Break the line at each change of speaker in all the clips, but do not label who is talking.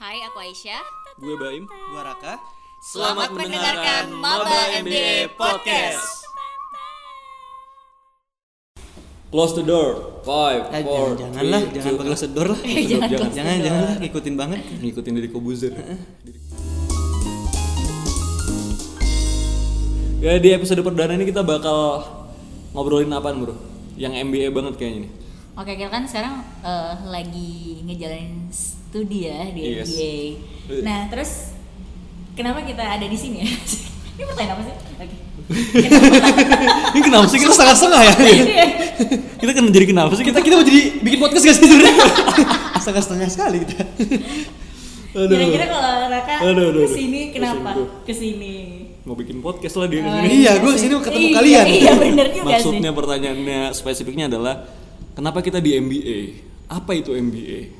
Hai, aku Aisyah.
Gue Baim.
Gua Raka.
Selamat mendengarkan Maba MBA Podcast.
Close the door. Five,
Eh,
four,
jangan, janganlah,
three,
jangan
two,
pakai sedor lah.
Eh, jangan
jangan.
close the
jangan,
door.
jangan ngikutin banget.
Ngikutin dari Kobuzer. ya di episode perdana ini kita bakal ngobrolin apaan bro? Yang MBA banget kayaknya nih.
Oke, kita kan sekarang eh, lagi ngejalanin studi ya di
Yes.
MBA. Nah, terus kenapa kita ada di sini ya? Ini pertanyaan apa sih? Oke.
ini kenapa sih kita setengah-setengah ya?
Iya.
kita kan jadi kenapa sih kita kita mau jadi bikin podcast gak sih sebenarnya?
Setengah-setengah sekali kita.
Aduh.
Kira-kira kalau Raka
Aduh, aduh, aduh.
kesini kenapa?
Kesini
Kesini.
mau bikin podcast lah dia
Oh,
kesini.
iya, gua sini ketemu
Iya,
kalian.
Iya, bener juga sih.
Maksudnya pertanyaannya spesifiknya adalah kenapa kita di MBA? Apa itu MBA?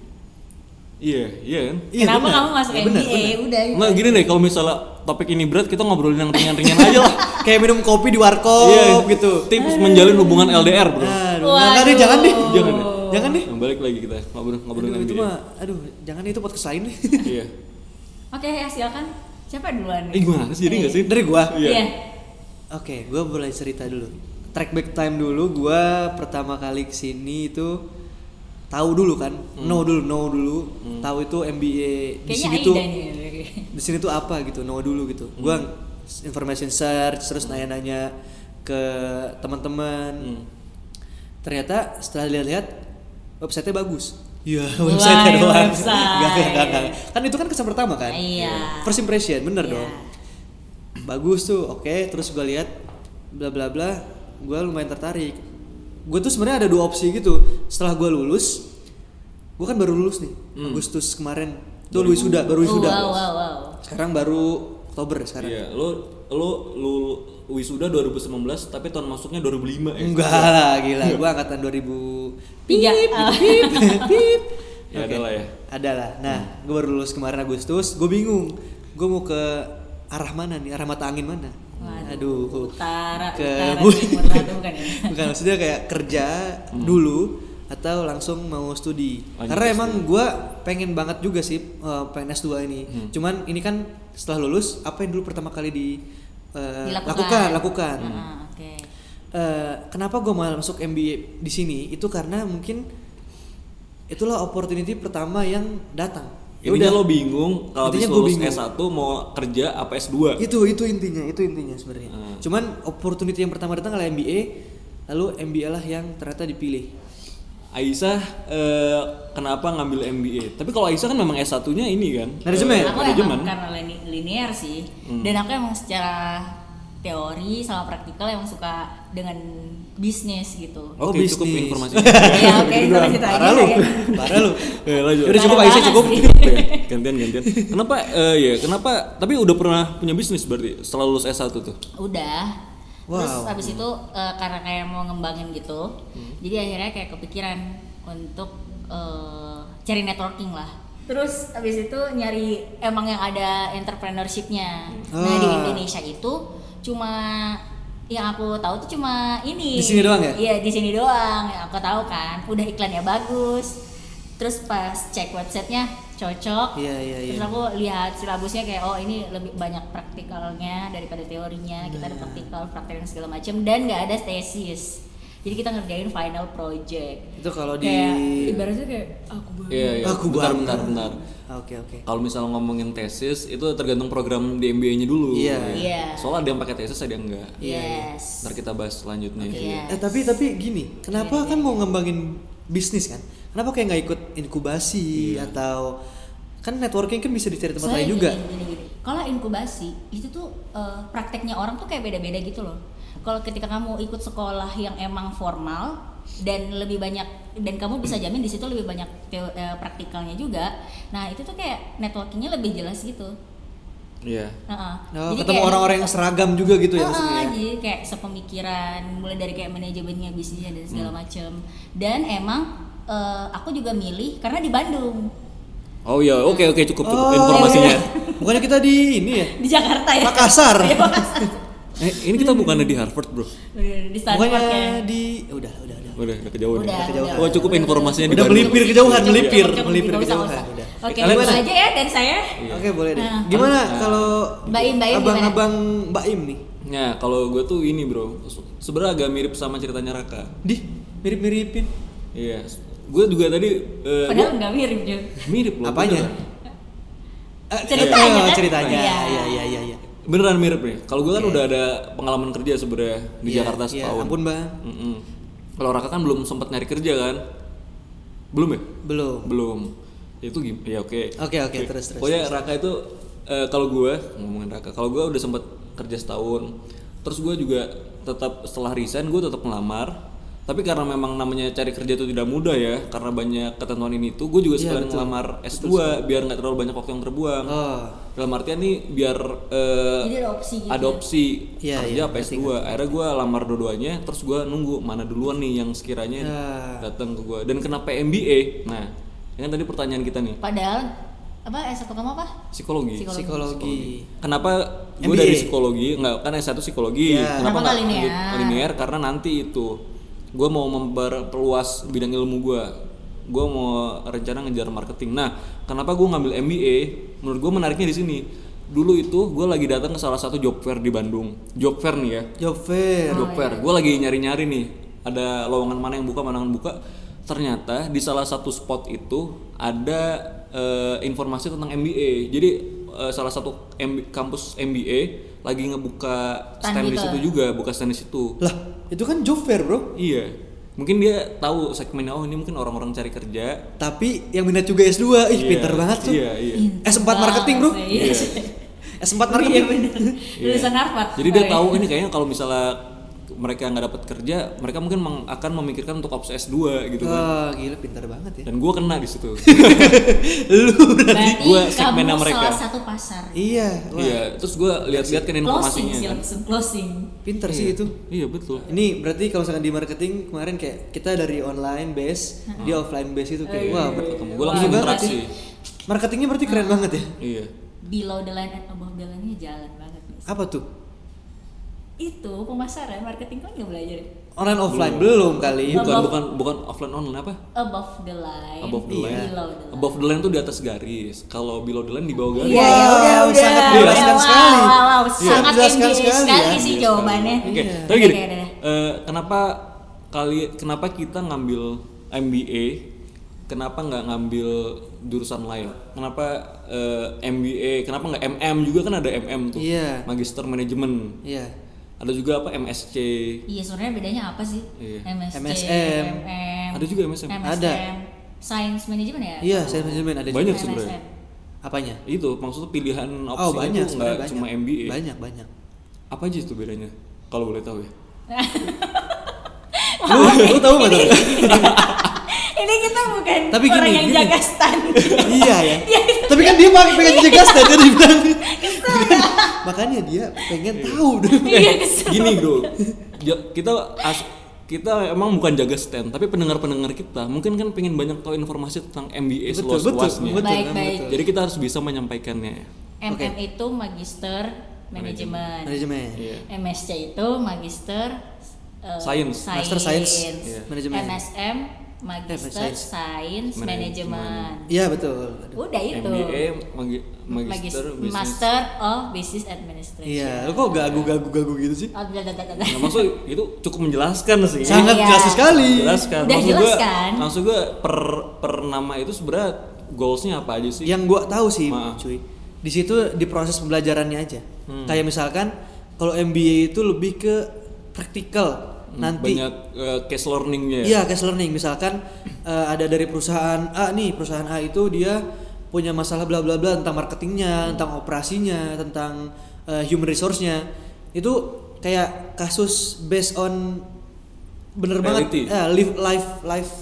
Iya, iya kan?
Iya,
Kenapa
benar.
kamu masuk
Iya,
MBA?
benar, benar.
Udah gitu.
Nggak gini deh kalau misalnya topik ini berat kita ngobrolin yang ringan-ringan aja lah. Iya,
Kayak minum kopi di warkop gitu. Nah,
Tips menjalin hubungan LDR, Bro.
Aduh, jangan deh, jangan deh.
Waduh.
Jangan deh.
Jangan deh.
Nah, balik lagi kita ngobrol ngobrolin
kan Aduh, itu
MBA.
mah, aduh, jangan deh, itu podcast lain deh.
Iya.
Oke, ya, silakan. Siapa duluan?
Eh gimana sih jadi nggak sih?
Dari gua.
Iya.
Iya.
Oke, gua mulai cerita dulu. Track back time dulu, gua pertama kali kesini itu tahu dulu kan, no dulu, no dulu, tahu itu MBA di
Kayaknya
sini
Aida
tuh
nih.
di sini tuh apa gitu know dulu gitu gua information search terus nanya-nanya ke teman-teman
Hmm.
ternyata setelah lihat-lihat websitenya bagus Iya,
Wah,
website doang.
website.
Nggak, nggak, nggak. Kan itu kan kesan pertama kan?
Iya.
First impression, bener
Iya.
dong. Bagus tuh, oke. Terus gua lihat, bla bla bla. Gue lumayan tertarik. Gue tuh sebenarnya ada dua opsi gitu. Setelah gua lulus, gua kan baru lulus nih, Agustus kemarin. Tuh lu sudah, baru
Oh,
sudah.
wow, wow, wow.
Sekarang baru Oktober ya, sekarang.
Iya, lu lu lu wisuda 2019 tapi tahun masuknya 2005 ya.
Enggak lah, gila. Gua angkatan 2000
Tiga.
pip pip.
Ya,
Oke.
ada lah ya. Hmm.
Ada lah. Nah, gue baru lulus kemarin Agustus, gue bingung. Gue mau ke arah mana nih? Arah mata angin mana? Aduh.
Utara,
Ke
utara,
bu-
timur, rata, bukan ya?
Bukan maksudnya kayak kerja dulu atau langsung mau studi.
Hmm. Lanjut
Karena
ke
emang gue pengen banget juga sih eh, pengen S2 ini.
Hmm.
Cuman ini kan setelah lulus apa yang dulu pertama kali di eh,
Dilakukan.
lakukan, lakukan.
Hmm.
Ah, Oke.
Eh, kenapa gue malah masuk MBA di sini itu karena mungkin itulah opportunity pertama yang datang Ya
Intinya lo
udah.
bingung kalau habis
Intinya gua
lulus
bingung.
S1 mau kerja apa S2.
itu itu intinya itu intinya sebenarnya
Hmm.
cuman opportunity yang pertama datang adalah MBA lalu MBA lah yang ternyata dipilih
Aisyah eh, kenapa ngambil MBA? Tapi kalau Aisyah kan memang S1-nya ini kan.
Manajemen.
eh,
Aku
manajemen.
emang karena lini- linear sih,
Hmm.
dan aku emang secara teori sama praktikal emang suka dengan bisnis gitu.
Oh,
Oke, cukup
bisnis.
informasinya.
ya oke,
Gitu
itu
doang.
lanjut aja.
parah lu
ya.
parah lu
Eh, lanjut.
udah cukup
Parah
Aisyah cukup
banget
Oke, gantian gantian. Kenapa eh, ya, kenapa tapi udah pernah punya bisnis berarti setelah lulus S1 tuh.
Udah. Terus
Wow. Hmm.
habis itu eh, karena kayak mau ngembangin gitu, jadi akhirnya kayak kepikiran untuk eh, cari networking lah. Terus habis itu nyari emang yang ada entrepreneurshipnya. Nah di
Ah.
Indonesia itu cuma yang aku tahu tuh cuma ini.
Di sini doang ya?
Iya di sini doang. Yang aku tahu kan, udah iklannya bagus. Terus pas cek websitenya cocok.
Iya, iya,
Terus
iya.
aku lihat silabusnya kayak oh ini lebih banyak praktikalnya daripada teorinya kita ada
Iya.
praktikal praktek dan segala macam dan nggak ada tesis jadi kita ngerjain final project
itu kalau di
kayak ibaratnya kayak "Ah, aku banget
Iya, iya.
aku
bentar,
banget.
bentar, bentar.
Ah, oke oke
Kalau misalnya ngomongin tesis itu tergantung program di MBA-nya dulu.
Iya.
Iya.
Soalnya ada yang pakai tesis ada yang enggak.
yes
Ntar kita bahas selanjutnya.
Iya.
eh tapi tapi gini kenapa kan mau ngembangin bisnis kan kenapa kayak nggak ikut inkubasi
Iya.
atau kan networking kan bisa dicari tempat
Soalnya
lain
gini,
juga
gini, gini. Kalau inkubasi itu tuh eh, prakteknya orang tuh kayak beda-beda gitu loh. Kalau ketika kamu ikut sekolah yang emang formal dan lebih banyak dan kamu bisa jamin di situ lebih banyak teo- eh, praktikalnya juga. Nah itu tuh kayak networkingnya lebih jelas gitu.
Iya.
Heeh.
Oh,
Jadi
ketemu
kayak- Ah,
orang-orang yang seragam juga gitu ya
Heeh,
maksudnya. ya?
jadi kayak sepemikiran mulai dari kayak manajemennya bisnisnya dan segala macem. Dan emang eh, aku juga milih karena di Bandung
Oh iya, oke oke cukup cukup
Oh,
informasinya.
iya,
Bukannya kita di ini ya?
di Jakarta ya.
Makassar.
Iya, Makassar.
Eh, ini kita bukannya di Harvard, Bro.
Bener-bener, Di Stanford ya.
Bukannya di eh, udah udah udah.
Udah, udah kejauhan.
Udah,
ya?
udah,
Wah, cukup
udah.
informasinya
Udah
di Bandung.
melipir kejauhan,
Cukup,
melipir,
cukup,
melipir
nggak usah,
kejauhan.
nggak usah.
Udah.
Oke,
Kalian
itu
gimana?
aja ya dan saya.
Iya.
Oke boleh deh.
Nah.
Gimana
Nah.
kalau
Mbak Im, Mbak Im
abang-abang Mbak Im nih?
Nah, kalau gue tuh ini bro, Se- sebenarnya agak mirip sama ceritanya Raka.
Dih, mirip-miripin.
Iya, gue juga tadi eh,
Padahal nggak mirip juga.
gua- mirip loh.
Apanya?
beneran.
Eh,
Ceritanya
iya,
kan?
Ceritanya.
Iya.
Iya iya iya iya.
Beneran mirip nih. Kalau gue kan udah ada pengalaman kerja sebenarnya di
Iya,
Jakarta
iya.
setahun.
Ampun, Bang.
Mm-mm. Kalau Raka kan belum sempat nyari kerja kan? Belum ya?
Belum.
Belum. Itu gim- ya oke.
Oke, oke, terus, terus,
Pokoknya Raka itu eh, kalau gue ngomongin Raka, kalau gue udah sempet kerja setahun, terus gue juga tetap setelah resign gue tetap ngelamar. Tapi karena memang namanya cari kerja itu tidak mudah ya, karena banyak ketentuan ini itu, gue
Iya,
juga sekalian ngelamar S2 biar nggak terlalu banyak waktu yang terbuang.
Oh,
Dalam artian nih biar eh,
Jadi ada opsi gitu.
adopsi
Iya,
kerja apa S2 akhirnya gue lamar dua-duanya terus gue nunggu mana duluan nih yang sekiranya
Ya.
datang ke gue dan kenapa MBA nah ini kan tadi pertanyaan kita nih
Padahal apa eksekutif apa?
psikologi
Psikologi.
psikologi.
kenapa gue
MBA?
dari psikologi nggak kan S1 psikologi
Ya.
Kenapa nggak
nggak
linear?
lanjut linear karena nanti itu gue mau memperluas bidang ilmu gue gue mau rencana ngejar marketing nah kenapa gue ngambil MBA menurut gue menariknya di sini dulu itu gue lagi datang ke salah satu job fair di Bandung job fair nih ya
Job fair.
Oh,
job fair.
iya.
Gue lagi nyari-nyari nih, ada lowongan mana yang buka, mana yang buka. Ternyata di salah satu spot itu ada eh, informasi tentang MBA. Jadi eh, salah satu MB kampus MBA lagi ngebuka
Stand
stand di
gitu.
situ juga, buka stand di situ.
Lah, itu kan job fair, Bro.
Iya. Mungkin dia tahu segmennya oh ini mungkin orang-orang cari kerja.
Tapi yang minat juga S2. Ih,
Iya,
pinter banget tuh.
Iya, iya.
S4 marketing, Bro.
Iya.
S4 marketing.
bener. Lulusan Harvard.
Iya. Jadi dia
Oh, iya.
tahu ini kayaknya kalau misalnya mereka nggak dapat kerja, mereka mungkin meng- akan memikirkan untuk opsi S2 gitu kan.
Wah, gila pinter banget ya.
Dan gue kena di situ.
Lu
Berarti
gua
kamu
segmennya mereka.
salah satu pasar.
Iya, wah.
Iya, terus gue lihat-lihat kan
Closing
informasinya.
sih
kan.
langsung closing.
Pinter sih itu.
Iya betul.
Ini berarti kalau misalkan di marketing kemarin kayak kita dari online base, dia offline base itu kayak wah ber-
Ketemu gue langsung
Gila banget
interaksi.
ya. Marketingnya berarti keren banget ya.
Iya.
Below the line and above the line-nya jalan banget.
Apa tuh?
Itu pemasaran marketing kan nggak belajar. ya?
Online offline belum kali.
Bukan
Above-
bukan bukan offline online apa?
Above the
Iya,
line.
Above the line.
Below the line.
Above the line tuh di atas garis. Kalau below the line di bawah garis.
Iya, ya
Wow,
udah, udah.
sangat
Udah,
menjelaskan
wow,
sekali.
Wow, wow,
Iya.
sangat
Menjelaskan
enggak sekali,
sekali ya.
sih jawabannya. Iya,
Oke,
Iya,
tapi gini.
Oke, oke, oke.
eh, kenapa kali kenapa kita ngambil MBA? Kenapa nggak ngambil jurusan lain? Kenapa eh, MBA? Kenapa nggak MM juga kan ada MM tuh.
Iya.
Magister manajemen.
Iya.
Ada juga apa MSC.
Iya, sebenarnya bedanya apa sih?
Iya.
MSC,
MSM.
MM,
Ada juga MSM.
MSM,
Ada.
Science Management ya?
Iya, saya manajemen ada
Banyak
juga.
sebenarnya.
Apanya?
Itu maksudnya pilihan opsi
Oh, banyak
itu
sebenarnya
nggak
banyak.
cuma MBA.
Banyak, banyak.
Apa aja itu bedanya? Kalau boleh tahu ya.
Lu, lu tahu enggak tuh?
Ini kita bukan
Tapi
orang
gini,
yang
gini.
jaga stand.
iya ya. Tapi kan dia pengen pengen
Iya.
jaga stand dia bilang. Makanya dia pengen tahu dulu.
Iya, kesel.
Eh, Gini bro, ja- kita as- kita emang bukan jaga stand, tapi pendengar-pendengar kita mungkin kan pengen banyak tahu informasi tentang MBA
Betul, betul,
seluas-luasnya.
betul,
Baik,
kan,
baik.
betul.
Jadi kita harus bisa menyampaikannya.
MM
Oke.
itu Magister Manajemen.
Manajemen.
Iya.
MSC itu Magister eh,
Science. Iya.
Master Science
Iya.
Manajemen.
MSM Magister
Science.
Science Manajemen.
Iya, betul. Aduh.
Udah itu.
MBA, magi-
Magis-
Magister, Business.
Master of Business Administration.
Iya, lu kok gagu-gagu-gagu gitu sih?
Oh, udah, udah, udah, udah.
Nah, maksud itu cukup menjelaskan sih.
Sangat
Iya.
jelas sekali.
Menjelaskan.
Udah
maksud
jelas
gua-
kan?
Maksud gue per per nama itu sebenarnya goalsnya apa aja sih?
Yang gua tahu sih,
Maaf.
cuy. Di situ di proses pembelajarannya aja. Kayak misalkan kalau MBA itu lebih ke praktikal
Hmm,
nanti.
banyak eh, case learningnya.
Iya, case learning. Misalkan eh, ada dari perusahaan A nih, perusahaan A itu dia punya masalah bla bla bla tentang marketingnya, tentang operasinya, tentang eh, human resource-nya. Itu kayak kasus based on bener
Reality.
banget ya, live life life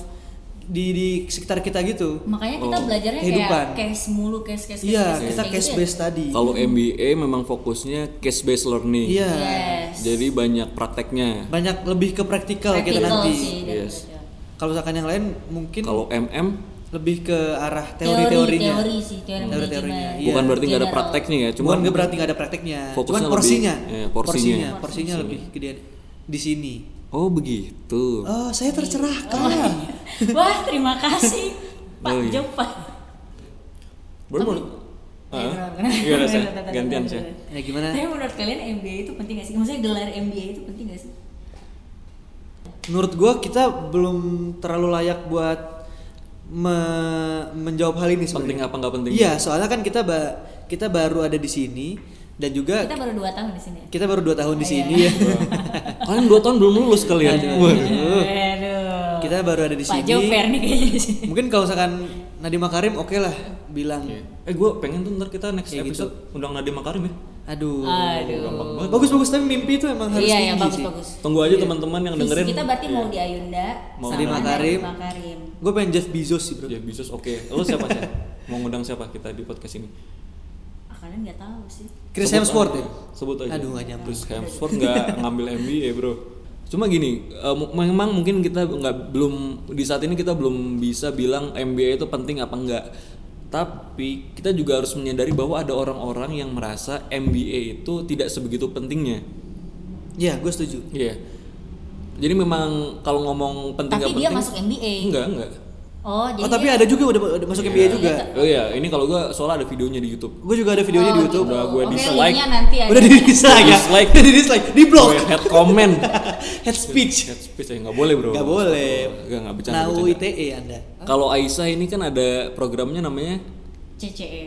di di sekitar kita gitu.
Makanya kita
Oh,
belajarnya
kehidupan.
kayak case mulu, case case case.
Iya,
case,
kita
kayak
case
gitu ya.
based tadi.
Kalau MBA memang fokusnya case based learning.
Iya.
Yes.
Jadi banyak prakteknya.
Banyak lebih ke praktikal kita
Practical
nanti.
sih, dan
Yes.
belajar.
Kalau misalkan yang lain mungkin
Kalau MM
lebih ke arah
Teori,
teori-teorinya.
teori sih,
Hmm.
teori manajemen.
Teori-teorinya, iya.
bukan berarti nggak ada
General.
prakteknya ya,
Cuman
cuman
nggak berarti nggak ada prakteknya.
Fokusnya
Cuman
lebih-
porsinya,
iya, porsinya.
porsinya,
Porsinya.
porsinya lebih gede di sini.
Oh begitu.
Oh, saya tercerahkan. Oh, iya.
Wah, terima kasih Pak
Oh, iya.
Jopa.
Baru mau
Eh,
Ah?
kenapa, kenapa?
Gimana sih?
Bentar, bentar,
Gantian
bentar,
sih.
bentar.
Ya gimana?
Tapi menurut kalian MBA itu penting gak sih? Maksudnya gelar MBA itu penting gak sih?
Menurut gua kita belum terlalu layak buat me- menjawab hal ini
Penting
sebenarnya.
apa nggak penting?
Iya, soalnya kan kita ba- kita baru ada di sini dan juga
Kita baru 2 tahun di sini.
kita baru 2 tahun di
Iya.
sini ya.
Kalian dua tahun belum lulus kalian.
Aduh.
Waduh.
Aduh.
kita baru ada di
Pak
sini.
Jover nih kayaknya di sini.
Mungkin kalau misalkan Nadiem Makarim oke lah bilang
Eh gue pengen tuh ntar kita next
Kayak
gitu.
episode undang Nadiem Makarim ya.
aduh.
Aduh.
gampang banget.
Bagus-bagus tapi mimpi itu emang harus
Iya,
tinggi
ya
sih.
bagus-bagus.
Tunggu aja teman-teman yang
Visi
dengerin. Iya.
kita berarti mau di Ayunda
Mau
sama
di
Makarim.
Nadiem Makarim.
Gue pengen Jeff Bezos sih,
gitu.
Bro.
Ya Bezos oke. Lo siapa sih? Mau ngundang siapa kita di podcast ini?
Ah, kalian nggak tahu sih.
Chris
Sebut
Hemsworth
aja.
ya?
Sebut aja.
Aduh, nggak nyambung.
Chris Hemsworth nggak ngambil MBA bro. Cuma gini, eh, mu- memang mungkin kita nggak belum di saat ini kita belum bisa bilang MBA itu penting apa enggak. Tapi kita juga harus menyadari bahwa ada orang-orang yang merasa MBA itu tidak sebegitu pentingnya.
Iya, gue setuju.
Iya. Jadi memang kalau ngomong penting
Tapi
nggak
dia
penting,
masuk MBA.
enggak enggak.
Oh, jadi
oh, tapi
dia-
ada juga udah, udah masuk MBA juga.
Oh iya, ini kalau gua soalnya ada videonya di YouTube.
Gue juga ada videonya
Oh, Iya.
di YouTube.
Udah gue
Oke,
dislike.
linknya nanti ada.
Udah di dislike ya?
Dislike.
Udah di dislike, di blok.
Gue head comment.
Head speech.
Head speech ya nggak boleh bro.
Gak boleh.
Gak nggak bercanda.
Nah,
bercanda.
UITE Anda.
Kalau Aisyah ini kan ada programnya namanya
CCE.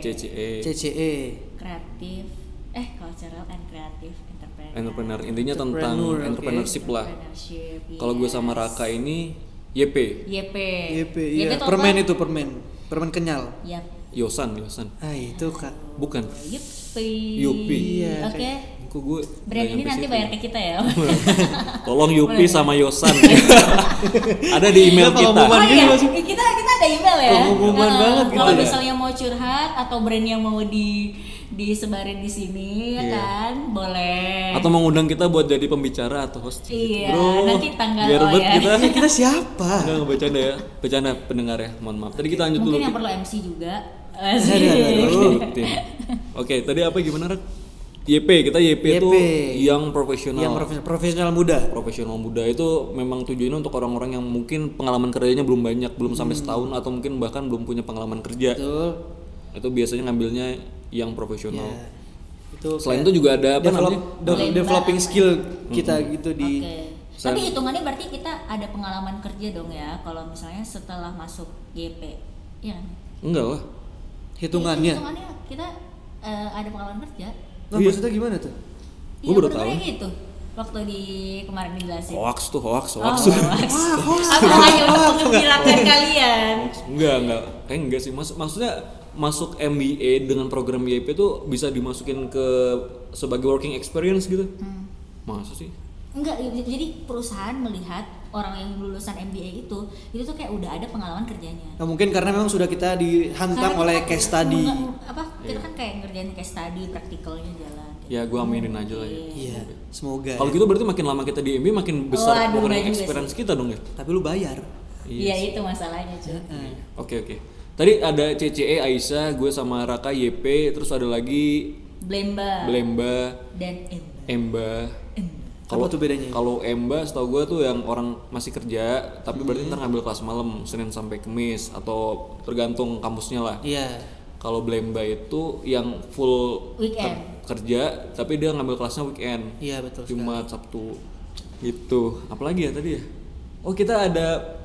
E.
E.
CCE
CCE.
E. Kreatif. Eh, cultural and creative entrepreneur.
Entrepreneur. Intinya tentang
Entrepreneur, oke.
entrepreneurship lah.
Entrepreneurship, iya.
Kalau gue
yes.
sama Raka ini YP,
YP.
YP, iya.
tuh apa?
Permen itu permen. Permen kenyal.
Yap.
Yosan, Yosan.
Ah, itu Kak.
Bukan.
Yupi.
Yupi.
Iya,
Oke.
kayak-
Kok gue
Brand ini nanti bayar ke kita ya.
Tolong Yupi
Boleh.
sama Yosan. ada di email
Kenapa
kita.
ngomong-
Oh
Cuman
iya,
gini maksud-
kita kita ada email ya.
Pengumuman
Nah,
banget gitu
Kalau
ya.
misalnya mau curhat atau brand yang mau di disebarin di sini
Iya.
ya kan, boleh.
Atau mengundang kita buat jadi pembicara atau host.
Iya,
Bro,
nanti tanggal
biar
lo
bet
ya.
kita.
Kita siapa?
Enggak, enggak bercanda ya. Bercanda pendengar ya. Mohon maaf. Tadi kita lanjut dulu.
Mungkin yang perlu MC juga.
Aduh, aduh, aduh.
Asik.
Rutin. Oke, tadi apa gimana, Rak? YP, kita YP,
YP.
itu yang profesional.
Yang Iya, profes- profesional muda.
profesional muda itu memang tujuannya untuk orang-orang yang mungkin pengalaman kerjanya belum banyak, belum sampai setahun atau mungkin bahkan belum punya pengalaman kerja.
Hmm. Betul.
Itu biasanya ngambilnya yang profesional.
Ya. Itu
Selain
kayak
itu juga ada apa
develop,
namanya?
de-
Blend
developing
banget.
skill kita gitu di
Oke. Tapi
Sen-
hitungannya berarti kita ada pengalaman kerja dong ya kalau misalnya setelah masuk GP. Iya. kan?
Enggak lah.
hitungannya.
Hitungannya kita eh, ada pengalaman kerja.
Nah,
Iya.
maksudnya gimana tuh?
Gua
Iya,
baru
bener-bener
tahu.
gitu. Waktu di kemarin dijelasin.
Hoax tuh, hoax,
Oh,
hoax.
hoax. Aku hanya untuk menggembirakan kalian.
Enggak, enggak. Kayak enggak sih. Maksud, maksudnya masuk MBA dengan program YP itu bisa dimasukin ke sebagai working experience gitu.
Hmm.
Masa sih?
Enggak, i- jadi perusahaan melihat orang yang lulusan MBA itu itu tuh kayak udah ada pengalaman kerjanya.
Nah, mungkin karena memang sudah kita dihantam
Karena
oleh
kita-
case study.
Enggak, apa kita
Iya.
kan kayak ngerjain case study, praktikalnya jalan. kayak
Ya gua aminin aja lah ya.
Iya, semoga.
Kalau
ya.
gitu berarti makin lama kita di MBA makin besar
Waduh,
working
iya juga
experience kita dong ya.
Tapi lu bayar. Nah,
Iya itu masalahnya cuy.
Heeh.
Oke, oke. Tadi ada CCE Aisyah, gue sama Raka YP, terus ada lagi
Blemba
Blemba,
dan Emba.
Emba.
Emba.
Kalau
Apa tuh bedanya?
Kalau Emba setahu gue tuh yang orang masih kerja, tapi berarti ntar ngambil kelas malam, Senin sampai Kamis atau tergantung kampusnya lah.
Iya.
Kalau Blemba itu yang full
Weekend.
ter- kerja, tapi dia ngambil kelasnya weekend.
Iya, betul sekali.
Jumat, Sabtu gitu. Apalagi ya tadi ya? Oh, kita ada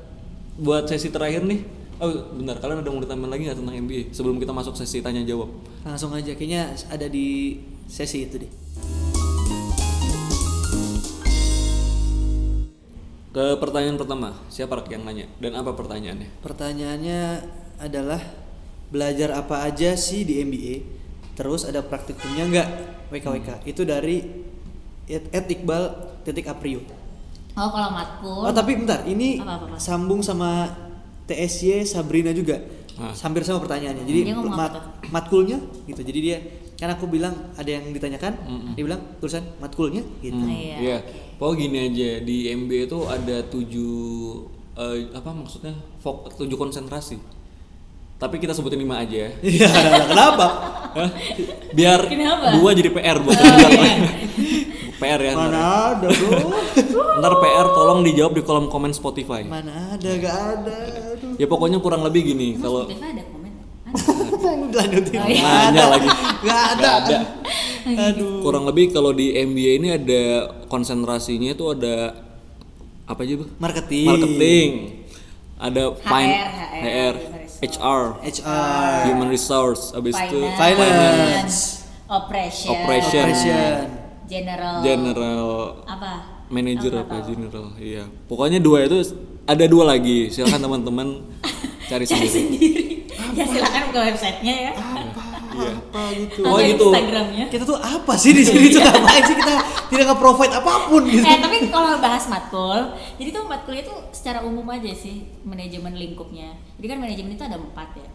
buat sesi terakhir nih. Oh, bentar, kalian ada mau ditambahin lagi nggak tentang MBA sebelum kita masuk sesi tanya jawab?
Langsung aja kayaknya ada di sesi itu deh.
Ke pertanyaan pertama, siapa Rak yang nanya dan apa pertanyaannya?
Pertanyaannya adalah belajar apa aja sih di MBA? Terus ada praktikumnya nggak? WKWK.
Hmm.
Itu dari Ed Ed Iqbal titik Aprio.
Oh kalau matkul.
Oh tapi bentar, ini
Apa, apa, apa?
sambung sama TSY Sabrina juga.
Ah.
Hampir sama pertanyaannya. Jadi
Dia ngomong
mat-
apa
matkulnya gitu. Jadi dia kan aku bilang ada yang ditanyakan,
Mm-mm.
dia bilang tulisan matkulnya gitu.
Hmm,
Iya,
Iya.
oke.
Pokoknya gini aja di MBA itu ada tujuh eh, apa maksudnya fok, tujuh konsentrasi. Tapi kita sebutin lima aja. ya.
Oh.
Iya, kenapa?
Hah? Biar
Kenapa?
dua jadi PR buat
Oh,
kita.
iya.
PR ya.
Mana
Ntar.
ada, Bro?
Ntar PR tolong dijawab di kolom komen Spotify. Iya.
Mana ada, gak ada. Aduh.
Ya pokoknya kurang lebih gini
Emang
kalau
Spotify ada komen?
Lanjutin.
Oh, iya.
Nggak
Nanya lagi.
Nggak ada.
Nggak ada.
Aduh.
Kurang lebih kalau di MBA ini ada konsentrasinya itu ada apa aja, Bu?
Marketing.
Marketing. Ada
HR,
fin-
HR,
HR, HR,
HR.
human resource, abis itu
Finance.
Finance.
Operation.
Operation.
Operation.
General.
general
Apa?
manager
Aku nggak
apa
tahu.
general. Iya. Pokoknya dua itu ada dua lagi. Silahkan teman-teman cari
Cari
sendiri.
sendiri. ya silakan ke websitenya ya.
Iya.
Apa gitu.
Oh,
Atau
gitu.
Instagramnya.
Kita tuh apa sih di sini tuh
Iya.
ngapain sih kita tidak nge-provide apapun gitu.
Eh tapi kalau bahas matkul, jadi tuh matkulnya tuh secara umum aja sih manajemen lingkupnya. Jadi kan manajemen itu ada empat ya,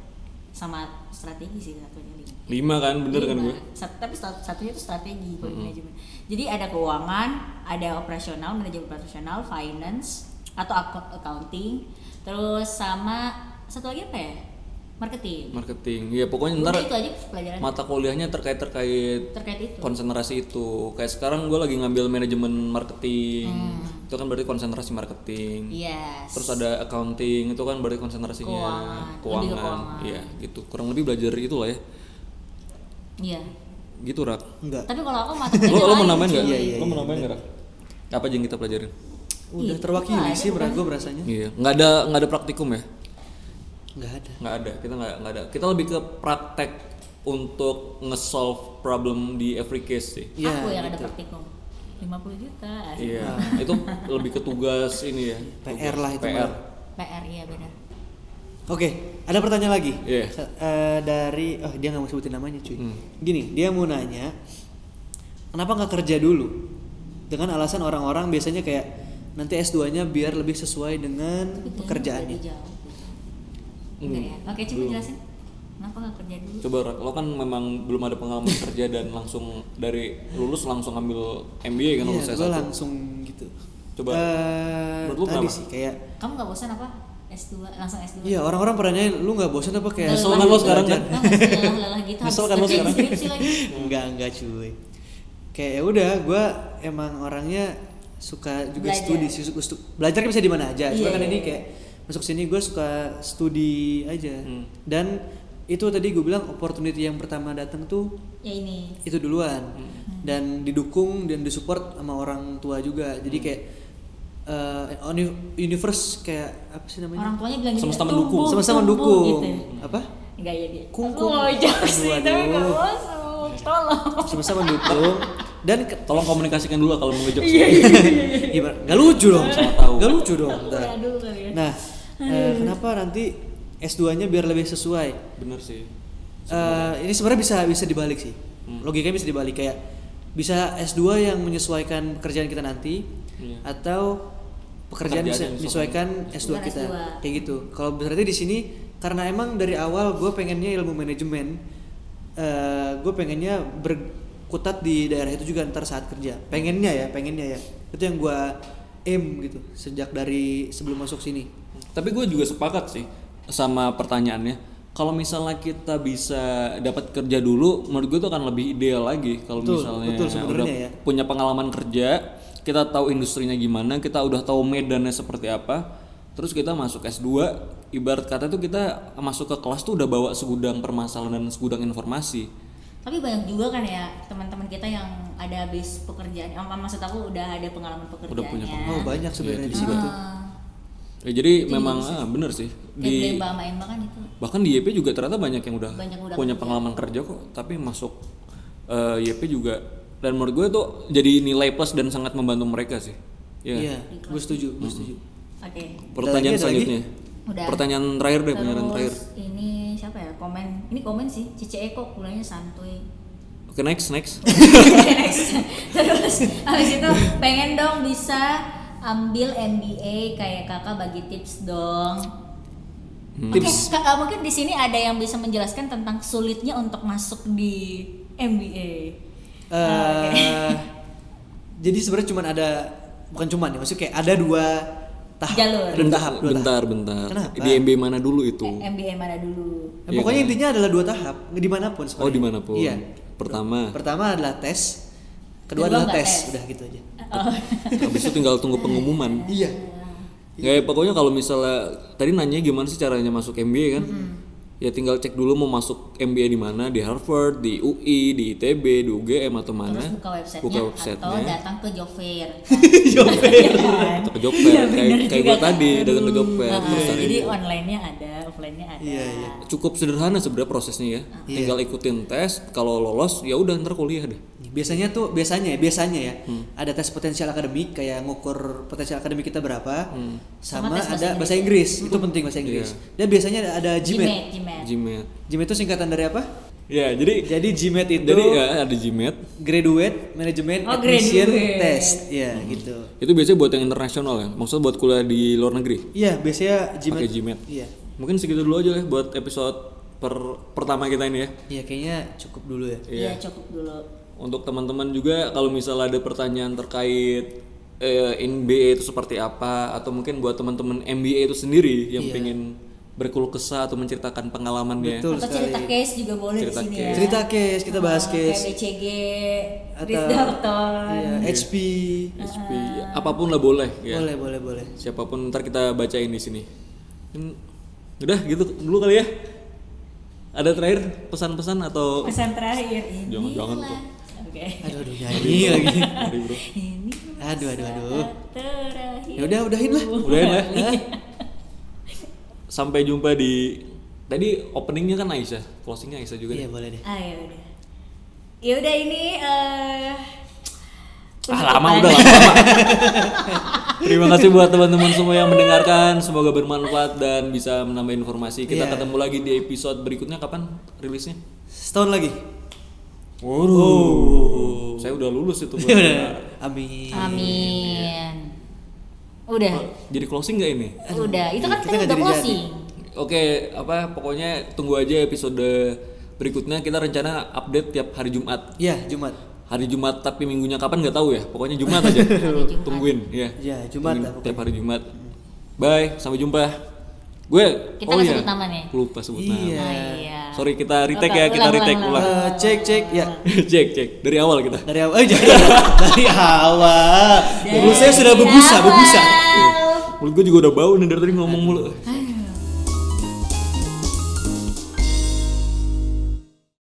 sama strategi sih satunya lingkup.
Lima kan, bener kan gue?
Sat- tapi sat- satunya itu strategi kalau di manajemen. Jadi ada keuangan, ada operasional, manajemen operasional, finance atau ak- accounting, terus sama satu lagi apa ya? Marketing.
Marketing. Ya pokoknya ntar
Udah itu aja pelajaran
mata kuliahnya terkait terkait
terkait itu.
konsentrasi itu. Kayak sekarang gue lagi ngambil manajemen marketing.
Hmm.
Itu kan berarti konsentrasi
Iya.
marketing.
Yes.
Terus ada accounting itu kan berarti konsentrasinya
Keuangan, lebih ke keuangan.
Iya, gitu. Kurang lebih belajar itulah ya.
Iya.
Gitu, Rak.
Enggak.
Tapi kalau aku mata
Lo,
kuliahnya
lo mau
lain,
nambahin
cuy.
enggak?
Iya, iya,
Lo
iya,
mau nambahin enggak, Rak? Apa aja yang kita pelajarin?
Udah
Iya, itu
terwakili
aja
sih berat
bukan?
gue berasanya.
Iya, nggak ada nggak ada praktikum ya?
Enggak ada.
Nggak ada, kita nggak nggak ada. Kita lebih ke praktek untuk nge-solve problem di every case sih.
Iya,
aku yang ada
gitu.
praktikum 50 juta asik.
Iya, itu lebih ke tugas ini ya.
PR Nah. lah itu,
PR.
Bang.
PR iya benar
Oke, ada pertanyaan lagi.
Iya.
Se- eh, dari oh dia nggak mau sebutin namanya cuy.
Hmm.
Gini, dia mau nanya kenapa nggak kerja dulu? Dengan alasan orang-orang biasanya kayak nanti S2-nya biar lebih sesuai dengan pekerjaannya.
Jauh.
Hmm.
Enggak
Iya.
ya? oke coba jelasin kenapa nggak kerja dulu
Coba Rak, lo kan memang belum ada pengalaman kerja dan langsung dari lulus langsung ambil MBA kan lulus
Iya, gue
S1.
langsung gitu.
Coba.
Eh,
Menurut lu
tadi
kenapa?
sih kayak
kamu nggak bosan apa S2 langsung S2
Iya orang-orang pernah nanya lu nggak bosan apa kayak
Nyesel kan lo
gitu.
sekarang kan?
Nggak, nggak sih, lelah-lelah gitu
Nyesel
habis
kan lo
ngerjain
sekarang?
skripsi lagi
enggak enggak cuy kayak ya udah gue emang orangnya suka juga
Belajar.
studi sih, suka stu- belajar kan bisa di mana aja cuma
Iya,
kan
iya,
ini
iya.
kayak masuk sini gue suka studi aja
Hmm.
dan itu tadi gue bilang opportunity yang pertama datang tuh
ya ini
itu duluan dan didukung dan disupport sama orang tua juga jadi kayak eh, uni- universe kayak apa sih namanya
orang tuanya bilang gini,
Semesta
"Tumbuh,
mendukung."
sama-sama
tumbuh,"
mendukung
gitu ya.
apa
enggak ya dia
Kung,
aku
kung.
mau jauh sih
Aduh,
tapi nggak
aduh.
bosan tolong
semesta mendukung dan ke-
Tolong komunikasikan dulu lah kalau mau
Iya,
ngejok.
Gimana? Gak Iya, lucu dong,
Sama tahu.
gak lucu dong. ntar.
Udah dulu kali ya.
Nah, eh, kenapa nanti S2-nya biar lebih sesuai?
Bener sih.
Eh, ini sebenarnya bisa bisa dibalik sih.
Hmm.
Logikanya bisa dibalik kayak bisa S2 yang menyesuaikan pekerjaan kita nanti
Iya.
atau pekerjaan
Pekerjaan
bisa
yang
menyesuaikan S2
Bukan
kita.
S2.
Kayak gitu. Kalau berarti di sini karena emang dari awal gue pengennya ilmu manajemen gue pengennya berkutat di daerah itu juga ntar saat kerja. Pengennya ya, pengennya ya. Itu yang gue aim gitu sejak dari sebelum masuk sini.
Tapi gue juga sepakat sih sama pertanyaannya. Kalau misalnya kita bisa dapat kerja dulu, menurut gue itu akan lebih ideal lagi. Kalau
Betul,
misalnya
betul sebenarnya
udah
ya.
punya pengalaman kerja, kita tahu industrinya gimana, kita udah tahu medannya seperti apa, terus kita masuk S2, ibarat kata tuh kita masuk ke kelas tuh udah bawa segudang permasalahan dan segudang informasi.
tapi banyak juga kan ya teman-teman kita yang ada base pekerjaan Em, maksud aku udah ada pengalaman pekerjaannya
Udah punya
Oh, banyak sebenarnya
Iya,
di sini tuh.
Ya, jadi memang ah, bener sih
di
di
Eh, Mbak Emma kan itu
bahkan di YP juga ternyata banyak yang udah,
Banyak udah
punya pengalaman kerja kok tapi masuk eh, YP juga dan menurut gue tuh jadi nilai plus dan sangat membantu mereka sih Iya.
Iya, gue setuju, gue setuju.
oke
pertanyaan
Ada lagi, ada
selanjutnya
Udah.
pertanyaan terakhir deh pertanyaan terakhir
terus ini siapa ya komen ini komen sih Cice Eko kuliahnya santuy
oke next next
Next. terus habis itu pengen dong bisa ambil MBA kayak kakak bagi tips dong
Hmm.
Oke, Kak, eh, mungkin di sini ada yang bisa menjelaskan tentang sulitnya untuk masuk di MBA.
Eh,
Oh,
jadi sebenarnya cuman ada bukan cuman ya maksudnya kayak ada dua tahap
Jalur.
ada dua tahap dua tahap.
bentar bentar
Kenapa?
di MB mana dulu itu
Eh, MBA mana dulu?
Ya,
Iya
pokoknya
kan?
intinya adalah dua tahap dimanapun
eh.
sebenarnya.
Oh, dimanapun.
iya
Pertama.
pertama adalah tes kedua
Kedua
adalah
nggak
tes.
tes.
udah gitu aja
habis itu tinggal tunggu pengumuman
iya
Ya,
Iya.
pokoknya kalau misalnya tadi nanya gimana sih caranya masuk MBA kan? ya tinggal cek dulu mau masuk MBA di mana di Harvard di UI di ITB di UGM atau mana
terus buka websitenya,
Hmm? buka
atau
websitenya
datang ke job fair
Job fair.
Kan?
Atau ke job fair,
Iya,
kayak-
bener
kayak
juga
gua tadi,
kan?
datang ke job fair,
Aduh.
terus
Ah,
ada
jadi
ini.
online-nya ada offline-nya ada
Iya, iya.
cukup sederhana sebenarnya prosesnya
Ah.
ya
Iya.
tinggal ikutin tes kalau lolos ya udah ntar kuliah deh
biasanya tuh biasanya ya biasanya ya
Hmm.
ada tes potensial akademik kayak ngukur potensial akademik kita berapa
Hmm.
sama,
Sama tes bahasa
ada bahasa Inggris itu penting bahasa Inggris
Iya.
dan biasanya ada, ada GMAT
Gmail, Gmail.
Gmat
GMAT itu singkatan dari apa
ya jadi
jadi GMAT itu
jadi ya ada Gmat
graduate management
Oh,
admission
graduate.
test ya
Hmm.
gitu
itu biasanya buat yang internasional ya maksudnya buat kuliah di luar negeri
iya biasanya GMAT
pakai Gmat
iya
mungkin segitu dulu aja lah ya, buat episode per- pertama kita ini ya
iya kayaknya cukup dulu ya
Iya cukup dulu.
untuk teman-teman juga kalau misalnya ada pertanyaan terkait eh, NBA itu seperti apa atau mungkin buat teman-teman MBA itu sendiri yang pengen berkeluh kesah atau menceritakan pengalamannya
Iya. Betul
Atau cerita
sekali.
case juga boleh
Cerita
di sini
case.
ya.
cerita case kita bahas
Ah,
case
Kayak BCG, Riz
atau
Dalton.
iya, HP
SP, apapun lah boleh ya
boleh boleh boleh
siapapun ntar kita bacain di sini Hmm, udah gitu dulu kali ya ada terakhir pesan-pesan atau
Pesan terakhir ini.
Jangan-jangan tuh.
Oke.
aduh aduh nyanyi lagi
Sorry, bro.
Ini
aduh aduh aduh
terakhir.
ya udah udahin lah
Udahin lah. ya. sampai jumpa di tadi openingnya kan Aisyah closingnya Aisyah juga
iya
nih.
boleh deh
Ah ya udah. Ya udah ini eh
ah lama
penutupan.
udah lama Terima kasih buat teman-teman semua yang mendengarkan. Semoga bermanfaat dan bisa menambah informasi. Kita
Iya.
ketemu lagi di episode berikutnya. Kapan rilisnya?
setahun lagi Oh.
Waduh. Saya udah lulus itu.
Ya udah.
buat-
amin
Amin. Udah.
Jadi closing nggak ini?
Udah. Itu kan
Oh, kita nggak
tadi udah
jadi-jadi.
closing.
Oke, apa pokoknya tunggu aja episode berikutnya. Kita rencana update tiap hari Jumat.
ya Jumat
Hari Jumat tapi minggunya kapan nggak tahu ya. Pokoknya Jumat aja.
Jumat.
Tungguin ya.
ya
Tungguin
Jumat lah pokoknya.
tiap hari Jumat. Bye, sampai jumpa. Gue oh iya.
Kita nggak sebut nama nih?
Lupa sebut nama.
Iya.
Ah, iya.
Sorry kita retake ya,
Ulang,
kita
ulang,
retake
ulang,
ulang.
Eh, cek cek ya
cek cek dari awal kita.
dari awal eh, jadi dari awal mulut saya sudah berbusa berbusa
Dadah.
Mulut gue juga udah bau nih dari tadi ngomong mulu.
Hai,